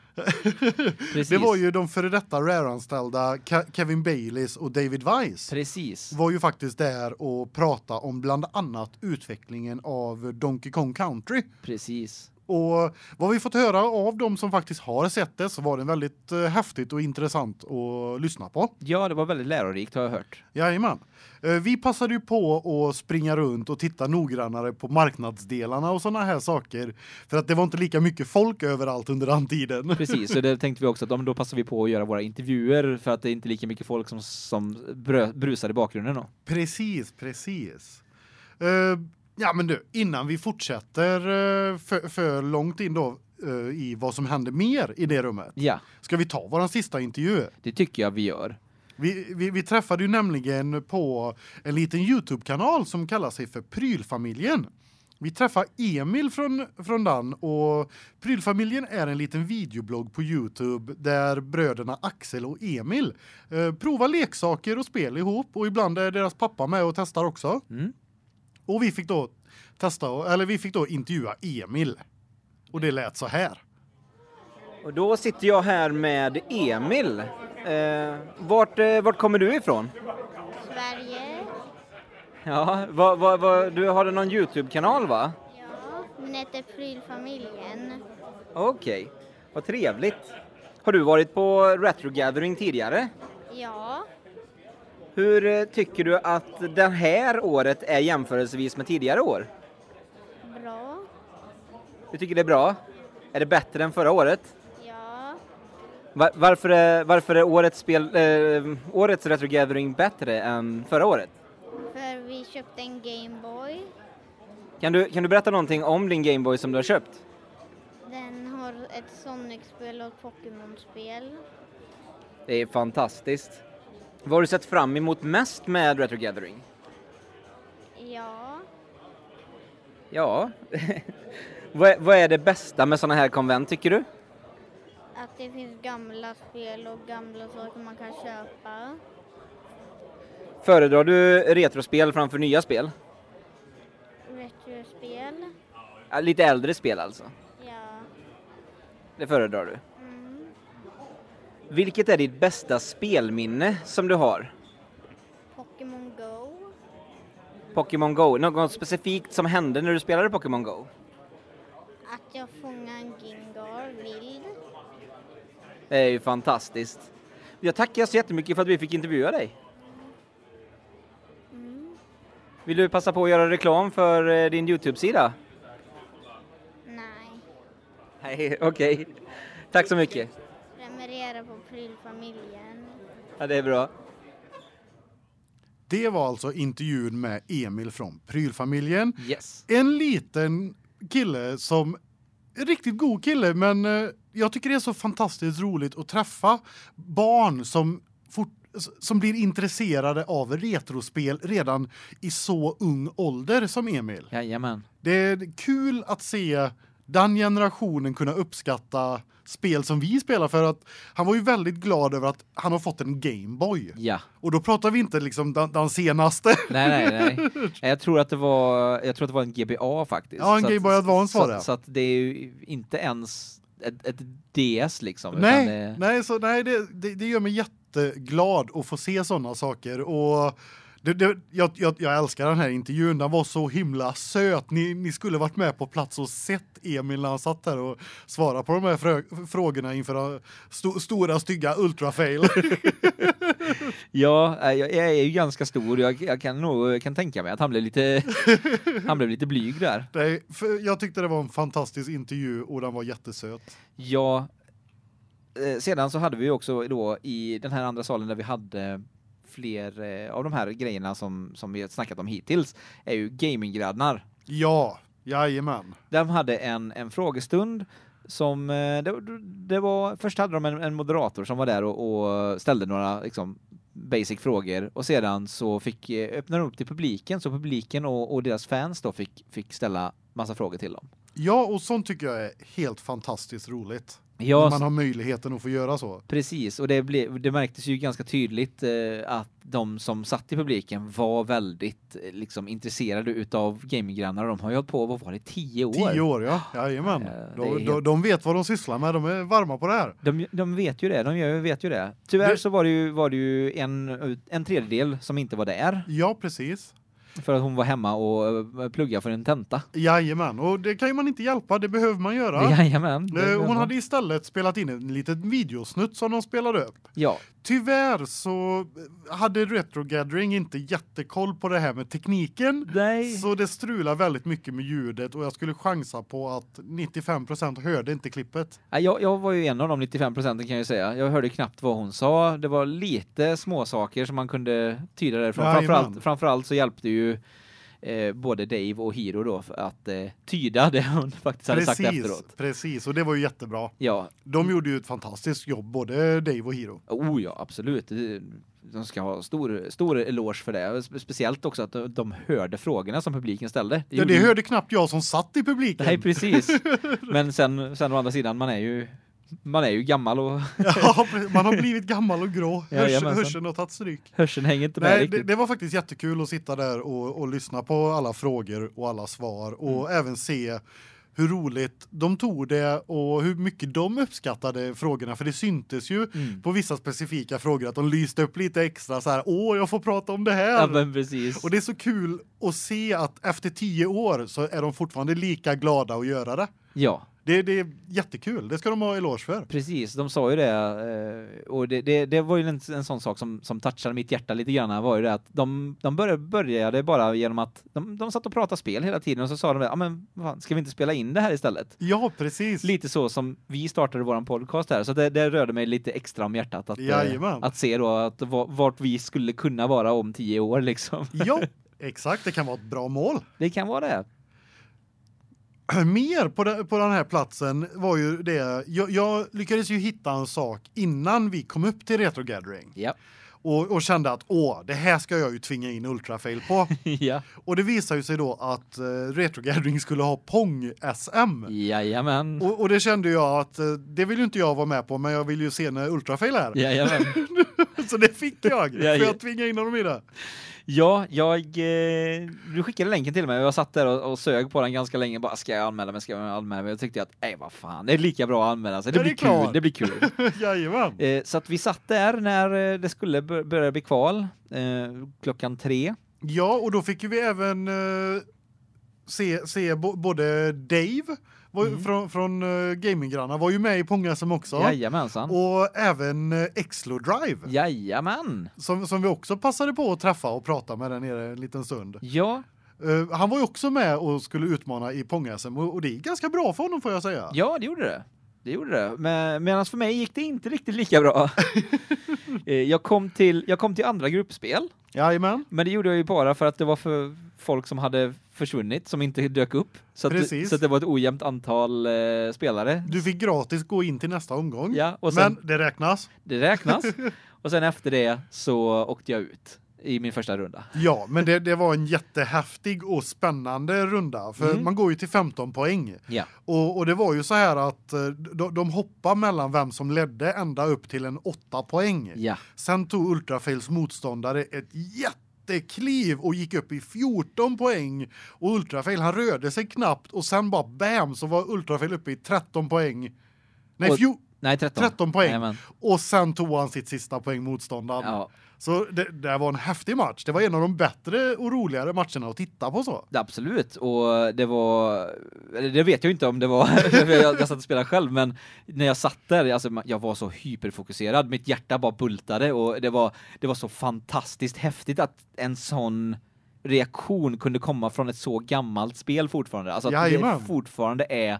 A: Precis.
B: Det var ju de före detta Rare-anställda Ke- Kevin Baileys och David Weiss.
A: Precis.
B: var ju faktiskt där och prata om bland annat utvecklingen av Donkey Kong Country.
A: Precis.
B: Och vad vi fått höra av dem som faktiskt har sett det så var det väldigt eh, häftigt och intressant att lyssna på.
A: Ja, det var väldigt lärorikt har jag hört.
B: Jajamän. Eh, Vi passade ju på att springa runt och titta noggrannare på marknadsdelarna och såna här saker. För att det var inte lika mycket folk överallt under den tiden.
A: Precis, så det tänkte vi också att ja, men då passar vi på att göra våra intervjuer för att det är inte lika mycket folk som, som brö- brusar i bakgrunden då.
B: Precis, precis. Eh, ja men du, innan vi fortsätter eh, för, för långt in då eh, i vad som hände mer i det rummet.
A: Ja,
B: Ska vi ta våran sista intervju?
A: det tycker jag vi gör.
B: Vi, vi, vi träffade ju nämligen på en liten Youtube-kanal som kallar sig för Prylfamiljen. Vi träffade Emil från, från den och Prylfamiljen är en liten videoblogg på Youtube där bröderna Axel och Emil eh, provar leksaker och spel ihop och ibland är deras pappa med och testar också.
A: Mm.
B: Och vi fick då testa eller vi fick då intervjua Emil. Och det lät så här.
A: Och då sitter jag här med Emil. Eh, vart, eh, vart kommer du ifrån?
E: Sverige.
A: Ja, vad, vad, vad, du har någon Youtube-kanal va?
E: Ja. Min heter Prylfamiljen.
A: Okej, vad trevligt. Har du varit på Retro Gathering tidigare?
E: Ja.
A: Hur eh, tycker du att det här året är jämförelsevis med tidigare år?
E: Bra.
A: Du tycker det är bra? Är det bättre än förra året?
E: Ja.
A: Va- varför, är, varför är årets, spel, eh, årets Retro Gathering bättre än förra året?
E: För vi köpte en Gameboy.
A: Kan du, kan du berätta någonting om din Gameboy som du har köpt?
E: Den har ett Sonic-spel och ett Pokémon-spel.
A: Det är fantastiskt. Vad har du sett fram emot mest med Retro Gathering?
E: Ja.
A: Ja, vad, är- vad är det bästa med sådana här konvent tycker du?
E: Att det finns gamla spel och gamla saker man kan köpa.
A: Föredrar du retrospel framför nya spel?
E: Retrospel.
A: Ja, Lite äldre spel alltså,
E: Ja.
A: det föredrar du.
E: Mm.
A: Vilket är ditt bästa spelminne som du har?
E: Pokémon Go.
A: Pokémon Go, något specifikt som hände när du spelade Pokémon Go?
E: Att jag fångade en Gingar vild.
A: Det är ju fantastiskt. Jag tackar så jättemycket för att vi fick intervjua dig. Mm. Vill du passa på att göra reklam för eh, din Youtube-sida?
E: Nej.
A: Nej, okej. Tack så mycket.
E: Prenumerera på Prylfamiljen.
A: Ja, det är bra.
B: Det var alltså intervjun med Emil från Prylfamiljen.
A: Yes.
B: En liten kille som riktigt god kille men eh, jag tycker det är så fantastiskt roligt att träffa barn som fort, som blir intresserade av retrospel redan i så ung ålder som Emil.
A: Jajamän.
B: Det är kul att se den generationen kunna uppskatta spel som vi spelar för att han var ju väldigt glad över att han har fått en Gameboy.
A: Ja.
B: Och då pratar vi inte liksom den, den senaste.
A: Nej, nej, nej. Nej, Jag tror att det var, jag tror att det var en GBA faktiskt.
B: Ja, en
A: Så att-
B: Game Boy Advance var
A: så,
B: det.
A: Så att det är ju inte ens ett, ett DS liksom.
B: nej,
A: Utan det,
B: nej, så nej det, det det gör mig jätteglad att få se såna saker och det, det, jag, jag, jag älskar den här intervjun. Den var så himla söt. Ni, ni skulle varit med på plats och sett Emil när han satt där och svara på de här frö, frågorna inför eh, sto, stora stygga ultrafail.
A: Ja, eh, jag, jag är ju ganska stor. Jag, jag kan nog jag kan tänka mig att han blev lite, han blev lite blyg där.
B: Nej, för jag tyckte det var en fantastisk intervju och den var jättesöt.
A: Ja. eh, Sedan så hade vi ju också då i den här andra salen där vi hade fler eh, av de här grejerna som, som vi har snackat om hittills är ju gaminggrannar.
B: Ja, jajamän.
A: De hade en, en frågestund som eh, det, det var först hade de en, en moderator som var där och, och ställde några liksom basic frågor och sedan så fick eh, öppnade de upp till publiken så publiken och, och deras fans då fick fick ställa massa frågor till dem.
B: Ja, och sånt tycker jag är helt fantastiskt roligt.
A: Ja,
B: När man har möjligheten att få göra så.
A: precis och det blev det märktes ju ganska tydligt eh, att de som satt i publiken var väldigt eh, liksom intresserade utav gaminggrannar. De har ju hållit på vad var det 10 år.
B: Tio år, ja. Jajamän.
A: Eh, det
B: De,
A: är
B: de,
A: helt-
B: de vet vad de sysslar med, de är varma på det här.
A: De, de vet ju det, de gör, vet ju det. Tyvärr
B: Det-
A: så var det ju, var det ju en, en tredjedel som inte var där
B: Ja, precis.
A: för att hon var hemma och eh, pluggade för en tenta.
B: Jajamän, och det kan ju man inte hjälpa, det behöver man göra.
A: Jajamän.
B: Eh,
A: det-
B: Hon hade istället spelat in en liten videosnutt som de spelade upp.
A: Ja,
B: Tyvärr så eh, hade Retro Gathering inte jättekoll på det här med tekniken.
A: nej.
B: Så det strular väldigt mycket med ljudet och jag skulle chansa på att 95 hörde inte klippet.
A: Ja, Jag, jag var ju en av de 95 procenten kan jag ju säga. Jag hörde knappt vad hon sa. Det var lite små saker som man kunde tyda därifrån.
B: Jajamän.
A: Framförallt, framförallt så hjälpte ju eh, både Dave och Hiro då för att eh, tyda det hon faktiskt hade sagt
B: Precis,
A: efteråt. Mm.
B: precis och det var ju jättebra.
A: Ja,
B: De gjorde ju ett fantastiskt jobb både Dave och Hiro.
A: Oh ja, absolut. Det- De ska ha stor, stor eloge för det. Spe- Speciellt också att de- de hörde frågorna som publiken ställde. Det
B: Ja,
A: gjorde
B: det
A: ju-
B: hörde knappt jag som satt i publiken.
A: Nej, precis. Men sen, sen å andra sidan, man är ju man är ju gammal och
B: Ja, man har blivit gammal och grå. Hörs,
A: Jajamensan.
B: hörseln har tagit stryk.
A: hörseln hänger inte med
B: Nej, det,
A: riktigt.
B: det var faktiskt jättekul att sitta där och, och lyssna på alla frågor och alla svar och
A: Mm.
B: även se hur roligt de tog det och hur mycket de uppskattade frågorna för det syntes ju
A: Mm.
B: på vissa specifika frågor att de lyste upp lite extra så här åh jag får prata om det här.
A: Ja, men precis.
B: Och det är så kul att se att efter tio år så är de fortfarande lika glada att göra det.
A: Ja,
B: Det, det är jättekul. Det ska de ha en eloge för.
A: precis. De sa ju det eh, och det det, det var ju en, en sån sak som som touchade mitt hjärta lite grann var ju det att de de började började bara genom att de de satt och pratade spel hela tiden och så sa de ja ah, men vad fan, ska vi inte spela in det här istället?
B: Ja, precis.
A: Lite så som vi startade våran podcast här så det det rörde mig lite extra om hjärtat att eh,
B: Jajamän.
A: att se då att va- vart vi skulle kunna vara om tio år liksom.
B: Ja, exakt. Det kan vara ett bra mål.
A: Det kan vara det.
B: mer på den, på den här platsen var ju det jag, jag lyckades ju hitta en sak innan vi kom upp till Retro Gathering
A: Ja.
B: och och kände att åh det här ska jag ju tvinga in Ultrafail på
A: ja.
B: och det visar ju sig då att uh, Retro Gathering skulle ha Pong SM.
A: Mm. Jajamän.
B: Och och det kände jag att eh, det vill ju inte jag vara med på men jag vill ju se när Ultrafail är här.
A: Jajamän.
B: Så det fick jag för
A: Ja, ja.
B: jag tvingade in honom i det.
A: Ja, jag eh, du skickade länken till mig och jag satt där och, och sög på den ganska länge bara ska jag anmäla mig ska jag anmäla mig. Jag tyckte att nej vad fan, det är lika bra att anmäla sig. Det
B: Ja, det
A: blir
B: är
A: kul,
B: klart.
A: det blir kul.
B: Jajamän.
A: eh, så att vi satt där när eh, det skulle bör- börja bli kval eh, klockan tre.
B: Ja, och då fick ju vi även eh, se se bo, både Dave var, ju-
A: Mm.
B: från från eh, gaminggrannar var ju med i Ponga som också
A: Jajamensan.
B: och även eh, Exlo Drive
A: Jajamän.
B: som som vi också passade på att träffa och prata med där nere en liten stund.
A: Ja,
B: Eh, han var ju också med och skulle utmana i Ponga SM och, och det är ganska bra för honom får jag säga.
A: ja det gjorde det. Det gjorde det. Men medans för mig gick det inte riktigt lika bra. eh, jag kom till jag kom till andra gruppspel.
B: Jajamän.
A: Men det gjorde jag ju bara för att det var för folk som hade försvunnit som inte dök upp så att,
B: Precis.
A: så att det var ett ojämnt antal eh, spelare.
B: Du fick gratis gå in till nästa omgång.
A: Ja, och sen
B: Men det räknas.
A: det räknas. och sen efter det så åkte jag ut i min första runda.
B: Ja, men det det var en jättehäftig och spännande runda för
A: Mm.
B: man går ju till 15 poäng.
A: Ja.
B: Och och det var ju så här att eh, de, de hoppar mellan vem som ledde ända upp till en åtta poäng.
A: Ja.
B: Sen tog Ultrafails motståndare ett jättekliv och gick upp i 14 poäng och Ultrafail han rörde sig knappt och sen bara bam så var Ultrafail uppe i 13 poäng. Nej,
A: Och-
B: fjo-
A: Nej, 13.
B: 13 poäng.
A: Jajamän.
B: och sen tog han sitt sista poäng motståndaren.
A: Ja,
B: Så det det var en häftig match. Det var en av de bättre och roligare matcherna att titta på så.
A: absolut. Och det var eller det vet jag inte om det var för jag, jag satt och spelade själv men när jag satt där alltså man- jag var så hyperfokuserad. Mitt hjärta bara bultade och det var det var så fantastiskt häftigt att en sån reaktion kunde komma från ett så gammalt spel fortfarande. Alltså att
B: Jajamän.
A: det fortfarande är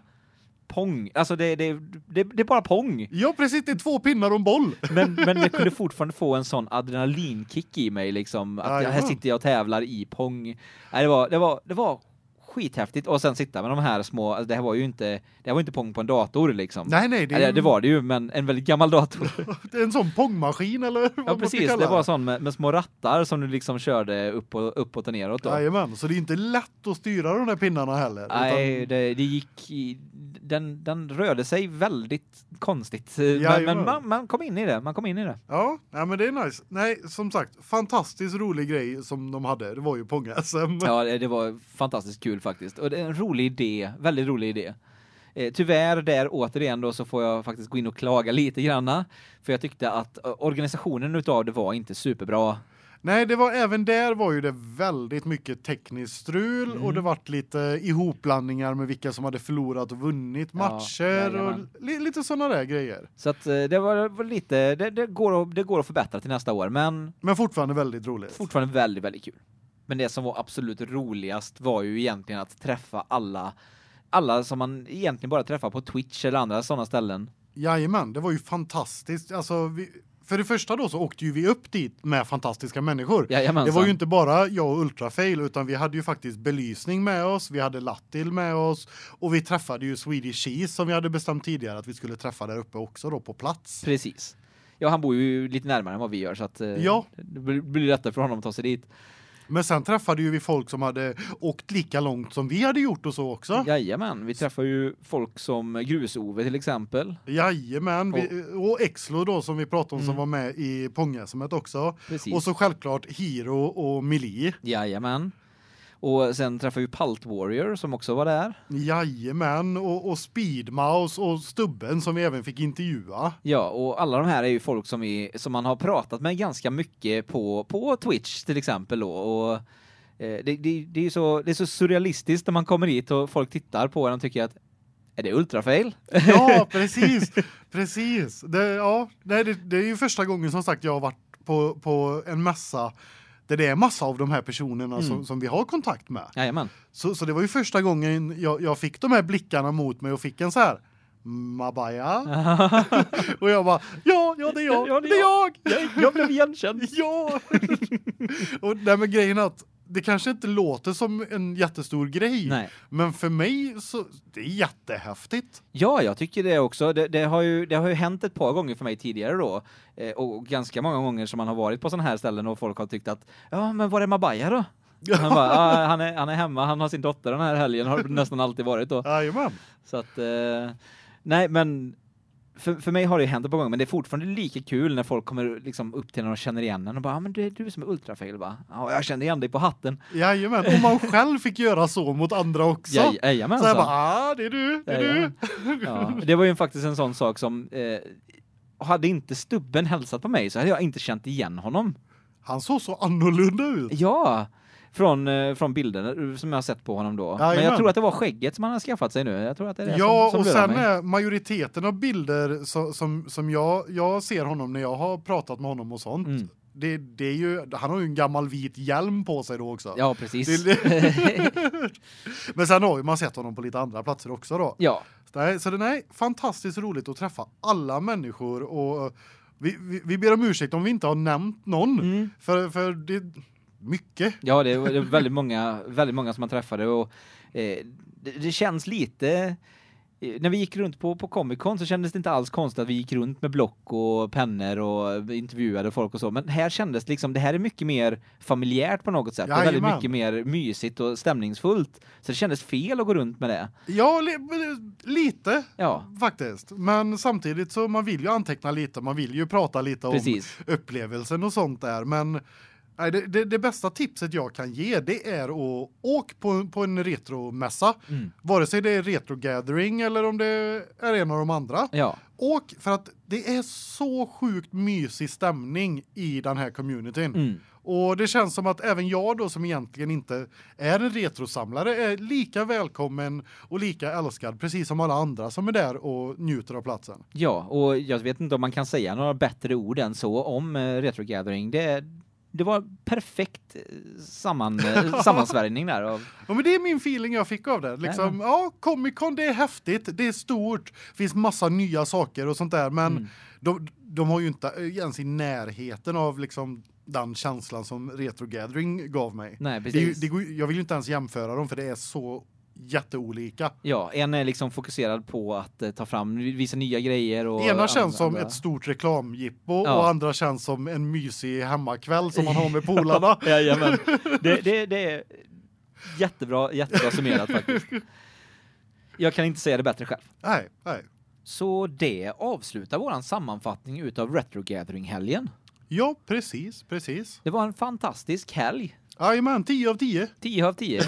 A: Pong. Alltså det det det, det är bara pong.
B: Ja, precis, det är två pinnar och en boll.
A: Men men jag kunde fortfarande få en sån adrenalinkick i mig liksom att jag, här
B: Jajamän.
A: sitter jag och tävlar i pong. Nej, det var det var det var skithäftigt och sen sitta med de här små alltså det här var ju inte det här var inte pong på en dator liksom.
B: Nej, nej, det, är
A: Eller,
B: ju-
A: det var det ju men en väldigt gammal dator.
B: Det är en sån pongmaskin eller vad
A: Ja
B: man ska
A: precis,
B: kalla
A: det var sån med, med små rattar som du liksom körde upp och uppåt och neråt då.
B: Jajamän, så det är inte lätt att styra de där pinnarna heller.
A: Nej,
B: utan,
A: det, det gick i, den den rörde sig väldigt konstigt men,
B: Jajamän.
A: men man, man kom in i det, man kom in i det.
B: ja, nej, men det är nice. Nej, som sagt, fantastiskt rolig grej som de hade. Det var ju Pong-SM.
A: Ja, det, det var fantastiskt kul faktiskt. Och det är en rolig idé, väldigt rolig idé. Eh, tyvärr där återigen då så får jag faktiskt gå in och klaga lite granna för jag tyckte att eh, organisationen utav det var inte superbra.
B: Nej, det var även där var ju det väldigt mycket tekniskt strul
A: Mm.
B: och det vart lite ihopblandningar med vilka som hade förlorat och vunnit
A: Ja,
B: matcher
A: jajamän.
B: och li, lite såna där grejer.
A: Så att eh, det var, var lite det, det går att, det går att förbättra till nästa år, men
B: Men fortfarande väldigt roligt.
A: fortfarande väldigt väldigt kul. Men det som var absolut roligast var ju egentligen att träffa alla alla som man egentligen bara träffar på Twitch eller andra sådana ställen.
B: Jajamän, det var ju fantastiskt. Alltså vi, för det första då så åkte ju vi upp dit med fantastiska människor.
A: Jajamensan.
B: Det var ju inte bara jag och Ultrafail utan vi hade ju faktiskt belysning med oss, vi hade Lattil med oss och vi träffade ju Swedish Cheese som vi hade bestämt tidigare att vi skulle träffa där uppe också då på plats.
A: Precis. Ja, han bor ju lite närmare än vad vi gör så att eh,
B: Ja.
A: det blir- blir lättare för honom att ta sig dit.
B: Men sen träffade ju vi folk som hade åkt lika långt som vi hade gjort och så också.
A: Jajamän, vi träffar ju folk som Grus-Ove till exempel.
B: Jajamän, vi, och Exlo då som vi pratade om som
A: Mm.
B: var med i Pångesumet också.
A: Precis.
B: Och så självklart Hiro och Mili.
A: Jajamän. Och sen träffar vi Palt Warrior som också var där.
B: Jajamän, och, och Speedmouse och Stubben som vi även fick intervjua.
A: Ja, och alla de här är ju folk som, är, som man har pratat med ganska mycket på, på Twitch till exempel då. Och, eh, det, det, det, är ju så, det är så surrealistiskt när man kommer hit och folk tittar på en och tycker att är det ultrafail?
B: Ja, precis. Precis. Det ja, nej det, det är ju första gången som sagt jag har varit på på en mässa där det är massa av de här personerna som som vi har kontakt med.
A: Jajamän.
B: Så så det var ju första gången jag jag fick de här blickarna mot mig och fick en så här Mabaya och jag bara ja, ja det är jag.
A: Ja,
B: det är jag.
A: Jag blev igenkänd.
B: Ja. och där med grejen är att det kanske inte låter som en jättestor grej.
A: Nej.
B: Men för mig så det är jättehäftigt.
A: Ja, jag tycker det också. Det, det, har ju, det har ju hänt ett par gånger för mig tidigare då. Eh, och ganska många gånger som man har varit på sådana här ställen och folk har tyckt att ja, men var är Mabaya då? Han, bara, ah, han, är, han är hemma, han har sin dotter den här helgen, har det nästan alltid varit då.
B: Jajamän.
A: Så att, eh, nej men för, för mig har det ju hänt ett par gånger, men det är fortfarande lika kul när folk kommer liksom upp till när de känner igen en och bara, ah, men det är du som är ultrafail va? Ja, jag kände igen dig på hatten.
B: Jajamän, och man själv fick göra så mot andra också.
A: Jaj-
B: så jag
A: Jajamensan.
B: bara, ah, det är du, det är du.
A: Jajamän. alltså. Ja, det var ju faktiskt en sån sak som eh, hade inte stubben hälsat på mig så hade jag inte känt igen honom.
B: Han såg så annorlunda ut.
A: Ja, från eh, från bilden eh, som jag har sett på honom då. Men jag
B: Jajamän.
A: tror att det var skägget som han har skaffat sig nu. Jag tror att det är det
B: Ja,
A: som,
B: och
A: som lurar
B: sen
A: mig.
B: är majoriteten av bilder som som som jag jag ser honom när jag har pratat med honom och sånt.
A: Mm.
B: Det det är ju han har ju en gammal vit hjälm på sig då också.
A: Ja, precis.
B: Det- Men sen har ju man sett honom på lite andra platser också då.
A: ja.
B: Så det- Så det är fantastiskt roligt att träffa alla människor och eh, vi vi, vi ber om ursäkt om vi inte har nämnt någon
A: Mm.
B: för för det är mycket
A: Ja, det var det var väldigt många väldigt många som man träffade och eh, det, det känns lite eh, när vi gick runt på på Comic Con så kändes det inte alls konstigt att vi gick runt med block och pennor och intervjuade folk och så, men här kändes liksom det här är mycket mer familjärt på något sätt. Och väldigt
B: Jajamän.
A: mycket mer mysigt och stämningsfullt. Så det kändes fel att gå runt med det.
B: Ja, li men, lite
A: Ja,
B: faktiskt. Men samtidigt så man vill ju anteckna lite, man vill ju prata lite
A: precis.
B: om upplevelsen och sånt där, men Nej, det, det det bästa tipset jag kan ge det är att åk på på en retromässa,
A: Mm.
B: vare sig det är retro gathering eller om det är en av de andra.
A: Ja,
B: Åk för att det är så sjukt mysig stämning i den här communityn.
A: mm.
B: Och det känns som att även jag då som egentligen inte är en retrosamlare är lika välkommen och lika älskad precis som alla andra som är där och njuter av platsen.
A: ja, och jag vet inte om man kan säga några bättre ord än så om eh, Retro Gathering. Det det var perfekt eh, samman eh, sammansvärjning där av
B: Ja, men det är min feeling jag fick av det. Liksom, ja, Comic Con det är häftigt, det är stort, finns massa nya saker och sånt där, men
A: Mm.
B: de, de har ju inte ens i närheten av liksom den känslan som Retro Gathering gav mig.
A: Nej,
B: Det, är ju-
A: precis.
B: det går, ju- jag vill ju inte ens jämföra dem för det är så jätteolika.
A: Ja, en är liksom fokuserad på att eh, ta fram vissa nya grejer och
B: Ena känns som
A: andra-
B: ett stort reklamjippo
A: Ja.
B: och andra känns som en mysig hemmakväll som man har med polarna.
A: Jajamän. Det det det är jättebra jättebra summerat faktiskt. Jag kan inte säga det bättre själv.
B: nej, nej.
A: Så det avslutar våran sammanfattning utav Retro Gathering helgen.
B: Ja, precis, precis.
A: Det var en fantastisk helg.
B: Aj men 10 av 10.
A: 10 av 10.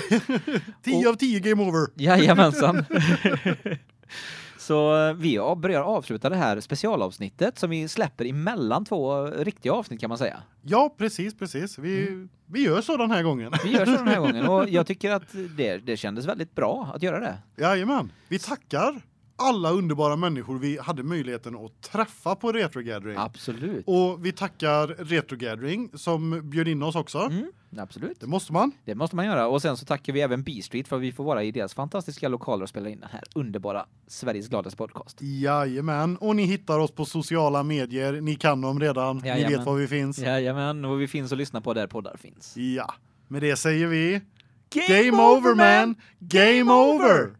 B: 10 av 10 game over.
A: Jajamensan. Så eh, vi av- börjar avsluta det här specialavsnittet som vi släpper emellan två eh, riktiga avsnitt kan man säga.
B: Ja, precis, precis. Vi vi gör så den här gången.
A: Mm. Vi gör så den här gången och jag tycker att det, det kändes väldigt bra att göra det.
B: Jajamän. Vi tackar alla underbara människor vi hade möjligheten att träffa på Retro Gathering.
A: Absolut.
B: Och vi tackar Retro Gathering som bjöd in oss också.
A: Mm, absolut.
B: Det måste man.
A: Det måste man göra. Och sen så tackar vi även B-Street för att vi får vara i deras fantastiska lokaler och spela in den här underbara Sveriges gladaste podcast.
B: Jajamän. Och ni hittar oss på sociala medier. Ni kan dem redan. Ni
A: Jajamän.
B: vet var vi finns.
A: Jajamän, och vi finns att lyssna på där poddar finns.
B: Ja. Med det säger vi Game, over man. Game, over.